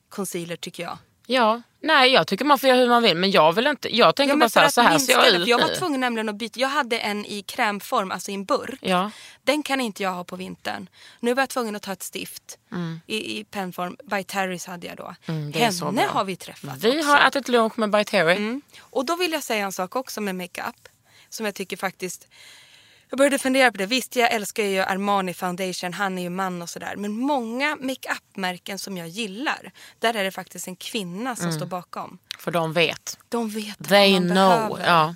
concealer tycker jag.
Ja, nej jag tycker man får göra hur man vill men jag vill inte, jag tänker
Ja, men
bara så här,
för att
så här ser jag
minska det,
ut
för Jag
nu.
var tvungen nämligen att byta. Jag hade en i krämform, alltså i en burk.
Ja.
Den kan inte jag ha på vintern. Nu var jag tvungen att ta ett stift i, i pennform. By Terrys hade jag då.
Mm. det är så
Henne
bra.
har vi träffat
Vi
också. Mm.
har ätit lunch med By Terry.
Och då vill jag säga en sak också med makeup. Som jag tycker faktiskt... Jag började fundera på det. Visst, jag älskar ju Armani Foundation. Han är ju man och sådär. Men många makeup-märken som jag gillar. Där är det faktiskt en kvinna
Mm.
som står bakom.
För de vet.
De vet
They
vad man
know.
behöver.
Ja. Mm.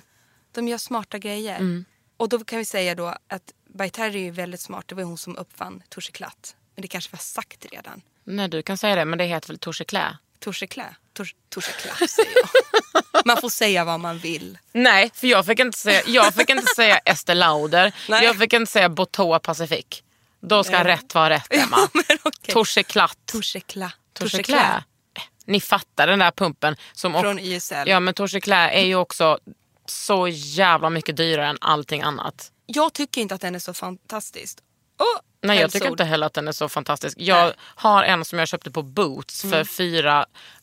De gör smarta grejer. Och då kan vi säga då att Baitari är ju väldigt smart. Det var ju hon som uppfann Torseklatt. Men det kanske var sagt redan.
Nej du kan säga det men det heter väl touche Klä?
Torseklä? Tors- Torseklatt säger jag. Man får säga vad man vill.
Nej för jag fick inte säga, jag fick inte säga Estée Lauder.
Nej.
Jag fick inte säga Botoa Pacific. Då ska rätt vara rätt Emma.
Ja, men okej.
Touche Klatt.
Torsekla.
Touche
Torseklä.
Ah. Klä. Ni fattar den där pumpen. Som och-
Från YSL.
Ja men Touche Klä är ju också så jävla mycket dyrare än allting annat.
Jag tycker inte att den är så fantastisk. Åh,
Nej jag
hälsord.
tycker inte heller att den är så fantastisk. Jag
Nej. Mm.
har en som jag köpte på Boots för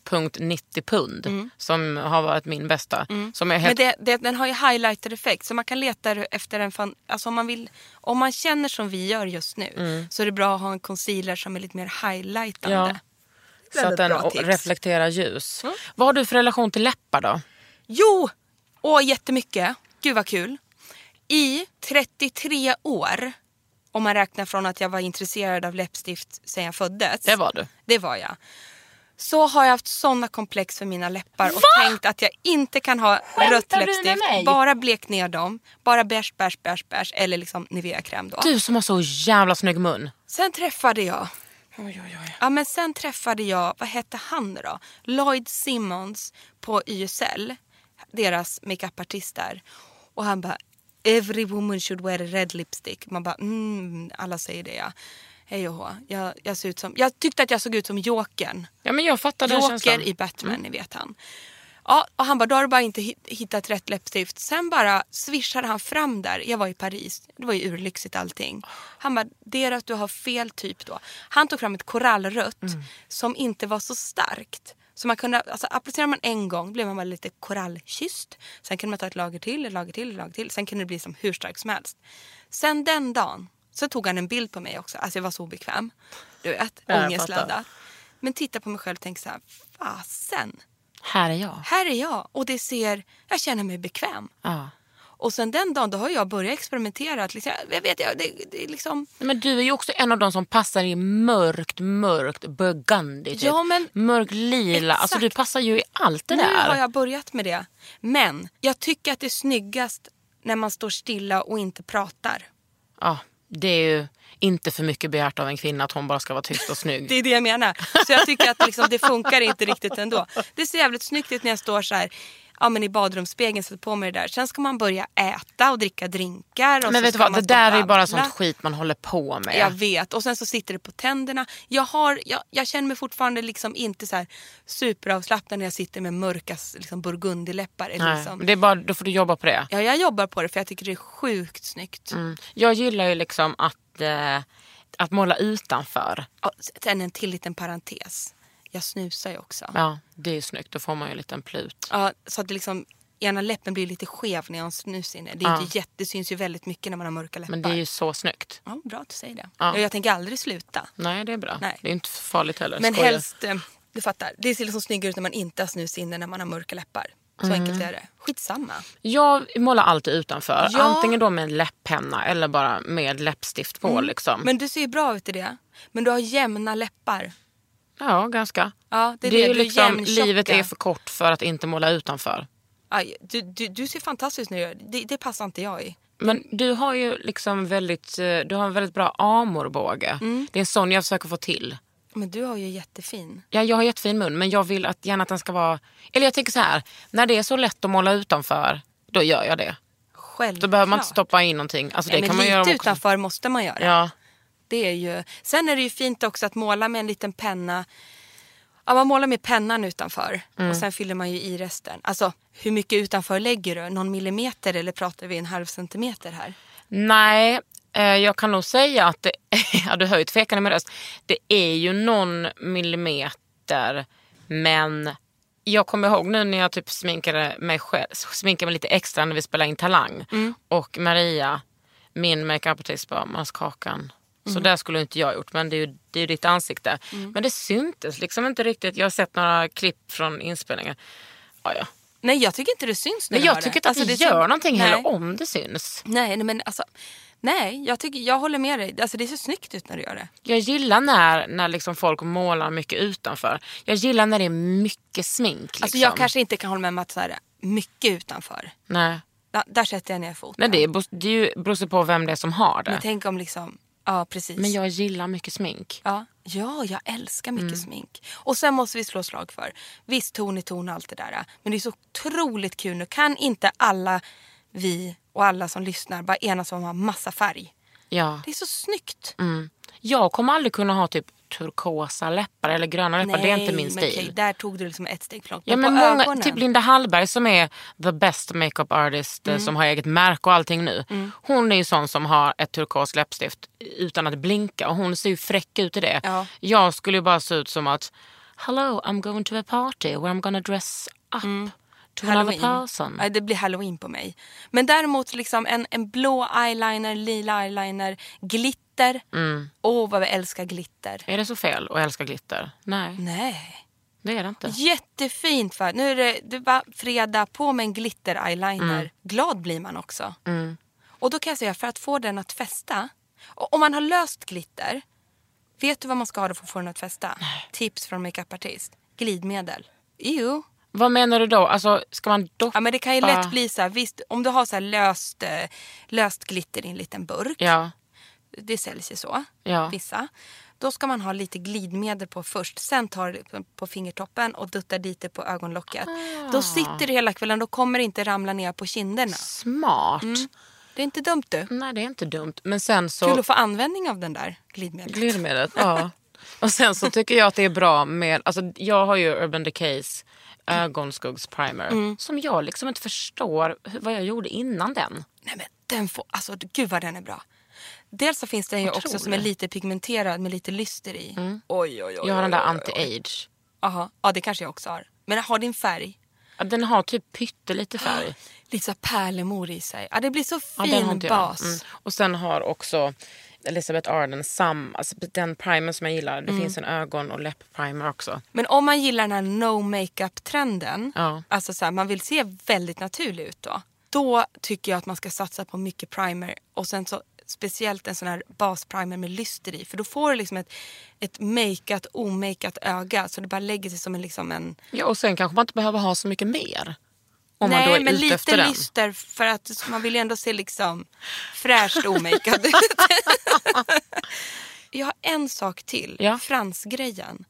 4.90 pund. Som har varit min bästa. Som är
Mm. Men
helt...
det, det, den har ju highlighter-effekt. Så man kan leta efter en... Fan, alltså om, man vill, om man känner som vi gör just nu så är det bra att ha en concealer som är lite mer highlightande.
Ja. så att
väldigt
den
bra
o-
tips. Mm.
reflekterar ljus. Vad har du för relation till läppar då?
Jo! Åh, jättemycket. Gud vad kul. I 33 år, om man räknar från att jag var intresserad av läppstift sen jag föddes.
Det var du.
Det var jag. så har jag haft såna komplex för mina läppar och tänkt att jag inte kan ha rött
du med
läppstift.
mig?
Bara blek ner dem. Bara bärs, bärs, bärs, bärs eller liksom Nivea-kräm då.
Du som har så jävla snygg mun.
Sen träffade jag... Ja, men sen träffade jag, vad hette han nu då? Lloyd Simmons på YSL, deras makeupartist där. Och han bara, every woman should wear a red lipstick. Man bara, mm, alla säger det ja. Hej och hå. Jag, jag, ser ut som, jag tyckte att jag såg ut som Jokern.
Ja men jag fattar den känslan. Mm.
Joker i Batman, ni vet han. Ja, och han bara, då har du bara inte hit- hittat rätt läppstift. Sen bara swishade han fram där. Jag var i Paris. Det var ju urlyxigt allting. Han bara, det är att du har fel typ då. Han tog fram ett korallrött
Mm.
som inte var så starkt. Så man kunde, alltså applicerar man en gång blev man bara lite korallkysst. Sen kunde man ta ett lager till, ett lager till, ett lager till. Sen kunde det bli som hur starkt som helst. Sen den dagen så tog han en bild på mig också. Alltså jag var så obekväm. Du vet,
jag
ångestladdad. Men titta på mig själv och tänk så här, fasen.
Här är jag.
Här är jag och det ser, jag känner mig bekväm.
Ja.
Och sen den dagen då har jag börjat experimentera. att Liksom, jag vet, jag, det, det är liksom,
Nej, Men du är ju också en av de som passar i mörkt, mörkt burgundy. Typ.
Ja, men-
Mörk lila. Alltså du
Exakt.
passar ju i allt det
nu
där.
har jag börjat med det. Men jag tycker att det är snyggast när man står stilla och inte pratar.
Ja, det är ju inte för mycket begärt av en kvinna att hon bara ska vara tyst och snygg.
Det är det jag menar. Så jag tycker att liksom, det funkar inte riktigt ändå. Det ser jävligt snyggt ut när jag står så här ja, men i badrumsspegeln sätter på mig det där. Sen ska man börja äta och dricka drinkar. Och
men
så
vet du
ska
vad, det
man
där
stå
är ju
och
bara
babbla.
sånt skit man håller på med.
Jag vet. Och sen så sitter det på tänderna. Jag, har, jag, jag känner mig fortfarande liksom inte så här superavslappnad när jag sitter med mörka liksom burgundiläppar. Eller
Nej,
liksom.
men det är bara, då får du jobba på det.
Ja, jag jobbar på det för jag tycker det är sjukt snyggt.
Mm. Jag gillar ju liksom att, eh, att måla utanför.
Ja, sen en till liten parentes. Jag snusar ju också. Ja.
Ja, det är ju snyggt. Då får man ju en liten plut.
så att det liksom, ena läppen blir lite skev när jag har snus inne. Det, är inte jätte, det syns ju väldigt mycket när man har mörka läppar.
Men det är ju så snyggt.
ja, bra att du säger det.
Ja.
Ja. Jag tänker aldrig sluta.
Nej, det är bra.
Nej.
Det är inte farligt heller.
Men
Skojar.
helst, eh, du fattar, det ser liksom snyggare ut när man inte har snus inne när man har mörka läppar. Så
Mm.
enkelt är det. Skitsamma.
Jag målar alltid utanför.
Ja.
Antingen då med en läpppenna eller bara med läppstift på. Liksom.
Mm. Men du ser ju bra ut i det. Men du har jämna läppar.
ja, ganska.
Ja, det är
det är
det.
ju
Du är
liksom,
jämntjocka.
livet är för kort för att inte måla utanför.
Aj, du, du, du ser fantastiskt nu ut. Det, det passar inte jag i.
Men du har ju liksom väldigt, eh, du har en väldigt bra amorbåge.
Mm.
Det är en sån jag försöker få till.
Men du har ju jättefin.
Ja, jag har jättefin mun men jag vill att, gärna att den ska vara... Eller jag tänker så här, när det är så lätt att måla utanför, då gör jag det.
Självklart.
Då behöver man inte stoppa in någonting. Alltså, det
Nej, men
kan man
lite
göra också.
utanför måste man göra.
Ja.
Det är ju... Sen är det ju fint också att måla med en liten penna. Ja, man målar med pennan utanför
Mm.
och sen fyller man ju i resten. Alltså, hur mycket utanför lägger du? Någon millimeter eller pratar vi en halv centimeter här?
Nej, eh, jag kan nog säga att det, ja, du hör ju tvekan i min röst. Det är ju någon millimeter men jag kommer ihåg nu när jag typ sminkade mig själv, sminkade mig lite extra när vi spelade in Talang och Maria, min makeupartist bara, "Mas, Kakan. Så där skulle inte jag gjort men det är ju, det är ju ditt ansikte. Men det syntes liksom inte riktigt. Jag har sett några klipp från inspelningen. Ja, ja.
Nej, jag tycker inte det syns. när
Men
du
jag
har
tycker inte att
Alltså,
det
ser-
gör någonting
Nej.
heller om det syns.
Nej, nej, men alltså, nej jag, tycker, jag håller med dig. Alltså, det ser snyggt ut när du gör det.
Jag gillar när, när liksom folk målar mycket utanför. Jag gillar när det är mycket smink. Liksom.
Alltså, jag kanske inte kan hålla med om att så här, mycket utanför.
Nej,
Ja, där sätter jag ner foten.
Nej det, är, bos- det är ju, beror sig på vem det är som har det.
Men
Men,
tänk om liksom... Ja, precis.
jag gillar mycket smink.
ja. ja, jag älskar mycket
Mm.
smink. Och sen måste vi slå slag för. Visst, ton i ton och allt det där. Men det är så otroligt kul nu. Kan inte alla vi och alla som lyssnar bara enas om att ha massa färg?
Ja.
Det är så snyggt.
Mm. Jag kommer aldrig kunna ha typ turkosa läppar eller gröna läppar. det är inte min
men
stil.
okej, där tog du liksom ett steg för långt.
Ja, men
på
många,
ögonen-
Typ Linda Hallberg som är the best makeup artist eh,
Mm.
som har eget märke och allting nu. Hon är ju sån som har ett turkost läppstift utan att blinka och hon ser ju fräck ut i det.
Ja.
Jag skulle ju bara se ut som att hello I'm going to a party where I'm gonna dress up
Mm.
to another person.
Nej, det blir halloween på mig. Men däremot liksom en, en blå eyeliner, lila eyeliner, glitter. Åh,
Mm.
vad vi älskar glitter.
Är det så fel att älska glitter? Nej,
Nej.
det är det inte.
Jättefint. För. Nu är det, det var fredag, på med en glitter-eyeliner. Glad blir man också. Och då kan jag säga, för att få den att fästa. Och om man har löst glitter, vet du vad man ska ha då för att få den att fästa? Tips från makeupartist. glidmedel. Jo.
Vad menar du då? Alltså, ska man doppa?
Ja, men det kan ju lätt
Ah.
bli så här, visst om du har så här löst, eh, löst glitter i en liten burk.
Ja.
Det säljs ju så,
Ja.
vissa. Då ska man ha lite glidmedel på först. Sen tar du det på fingertoppen och duttar dit det på ögonlocket.
Ah.
Då sitter du hela kvällen, då kommer det inte ramla ner på kinderna.
Smart.
Det är inte dumt du.
Nej, det är inte dumt. Men sen så...
Mm. Kul att få användning av den där glidmedlet.
Glidmedlet, ja. Och sen så tycker jag att det är bra med, alltså jag har ju Urban Decays ögonskuggsprimer som jag liksom inte förstår hur, vad jag gjorde innan den.
Nej men den får, alltså gud vad den är bra. Dels så finns den ju också som är lite pigmenterad med lite lyster i. Oj, oj, oj.
Mm. Jag har den där
oj, oj, oj.
anti-age.
Aha. Ja det kanske jag också har. Men har din färg.
Ja, Den har typ pyttelite färg.
Lite så här pärlemor i sig. Ja det blir så
Ja,
fin
den har inte jag.
bas.
Mm. Och sen har också Elizabeth Arden sam, alltså den primer som jag gillar. Det finns en ögon och läppprimer också.
Men om man gillar den här no makeup trenden.
Ja.
Alltså så här, man vill se väldigt naturlig ut då. Då tycker jag att man ska satsa på mycket primer och sen så speciellt en sån här basprimer med lyster i. För då får du liksom ett, ett makeat, omakeat öga så det bara lägger sig som en, liksom en
ja, och sen kanske man inte behöver ha så mycket mer. Om man
Nej,
då är
men
ute
lite
efter den.
lyster för att man vill ju ändå se liksom fräscht omakead ut. jag har en sak till.
Ja.
Fransgrejen.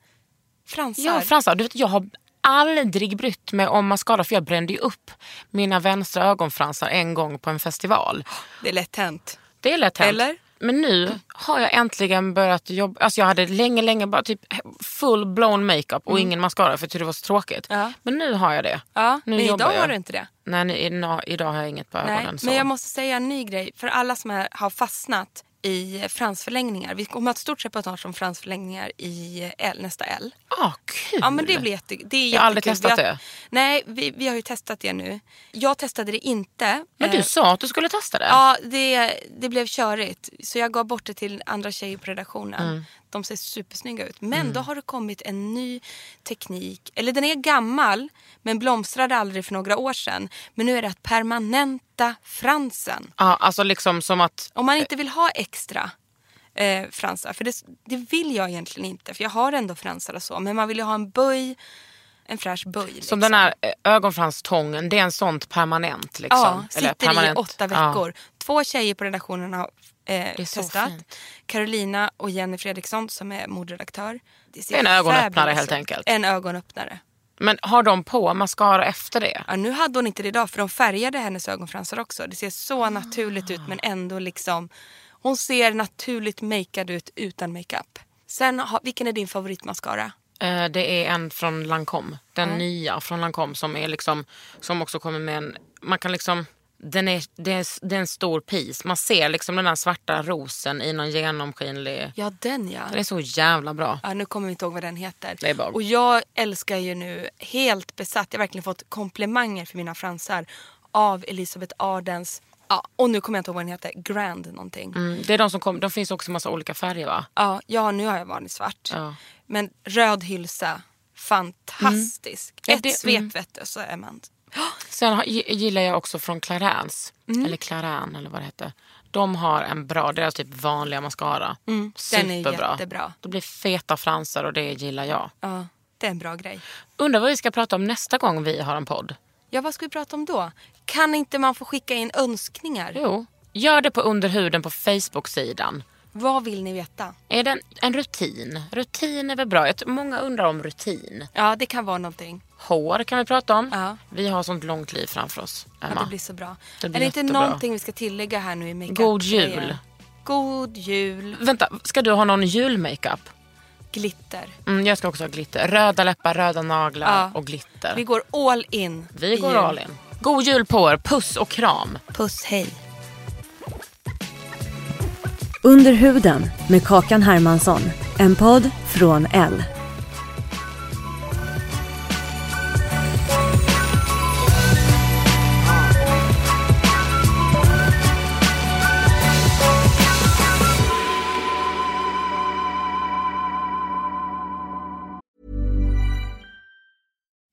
Fransar.
Ja, fransar. Du vet, jag har aldrig brytt mig om mascara för jag brände ju upp mina vänstra ögonfransar en gång på en festival.
det är lätt hänt.
Det är lätt hänt.
Eller?
Men nu har jag äntligen börjat jobba. Alltså jag hade länge, länge bara typ full blown makeup och ingen mascara för jag tyckte det var så tråkigt.
Mm. Ja.
Men nu har jag det.
Ja,
nu
men
jobbar
idag
jag.
har du inte det.
Nej, nu, idag, idag har jag inget på
Nej,
ögonen. Så.
men jag måste säga en ny grej för alla som är, har fastnat i fransförlängningar. Vi kommer ha ett stort reportage om fransförlängningar i L, nästa L.
ah, kul!
Ja, men det blir jätte, det är
Jag har aldrig
jättekul.
testat
Vi har,
det.
Nej, vi, vi har ju testat det nu. Jag testade det inte.
Men
Eh,
du sa att du skulle testa det.
Ja, det, det blev körigt. Så jag gav bort det till andra tjejer på redaktionen.
Mm.
De ser supersnygga ut. Men då har det kommit en ny teknik. Eller den är gammal, men blomstrade aldrig för några år sedan. Men nu är det att permanenta fransen.
Ja, alltså liksom som att...
Om man inte vill ha extra eh, fransar, för det, det vill jag egentligen inte. För jag har ändå fransar och så. Men man vill ju ha en böj, en fräsch böj.
Som
liksom.
den här eh, ögonfranstången, det är en sånt permanent. Liksom.
Ja,
Eller
sitter
permanent.
i
Ja.
åtta veckor. Två tjejer på redaktionen har eh,
är så
testat.
fint.
Carolina och Jenny Fredriksson som är moderedaktör. Det ser
En ögonöppnare
fabulous
helt
ut.
enkelt.
En ögonöppnare.
Men har de på mascara efter det?
Ja, nu hade hon inte det idag för de färgade hennes ögonfransar också. Det ser så
Ah.
naturligt ut men ändå liksom. Hon ser naturligt makead ut utan makeup. Sen, har- vilken är din favoritmascara?
Eh, Det är en från Lancome. Den nya från Lancome som är liksom som också kommer med en man kan liksom den är, det, är, det är en stor pis. Man ser liksom den här svarta rosen i någon genomskinlig.
Ja, den ja.
Den är så jävla bra.
Ja, nu kommer jag inte ihåg vad den heter.
Det är bara-
Och jag älskar ju nu helt besatt, jag har verkligen fått komplimanger för mina fransar av Elisabeth Ardens, ja, och nu kommer jag inte ihåg vad den heter, Grand någonting.
Mm, det är de som kom, de finns också i massa olika färger va?
Ja, ja, nu har jag vanlig svart.
Ja.
Men röd hylsa, fantastisk.
Ja,
Ett
det-
svep
mm.
vet du, så är man...
Sen har, gi- gillar jag också från Clarins.
Mm.
Eller Clarin eller vad det heter. De har en bra, deras typ vanliga mascara.
Mm, den är
Superbra.
jättebra.
Det blir feta fransar och det gillar jag.
Ja, det är en bra grej.
Undrar vad vi ska prata om nästa gång vi har en podd.
Ja, vad ska vi prata om då? Kan inte man få skicka in önskningar?
Jo. Gör det på underhuden på Facebook-sidan.
Vad vill ni veta?
Är det en, en rutin? Rutin är väl bra? Jag tror många undrar om rutin.
Ja, det kan vara någonting.
Hår kan vi prata om.
Ja.
Vi har sånt långt liv framför oss,
Ja, det
Emma.
blir så bra.
Det blir
är det inte
jättebra.
någonting vi ska tillägga här nu i makeup?
God jul.
grejen? God jul.
Vänta, ska du ha någon julmakeup?
Glitter.
Mm, jag ska också ha glitter. Röda läppar, röda naglar
Ja.
och glitter.
Vi
Vi,
går all in. i
går
jul.
all in. God jul på er. Puss och kram.
Puss, hej.
Under huden med Kakan Hermansson. En podd från L.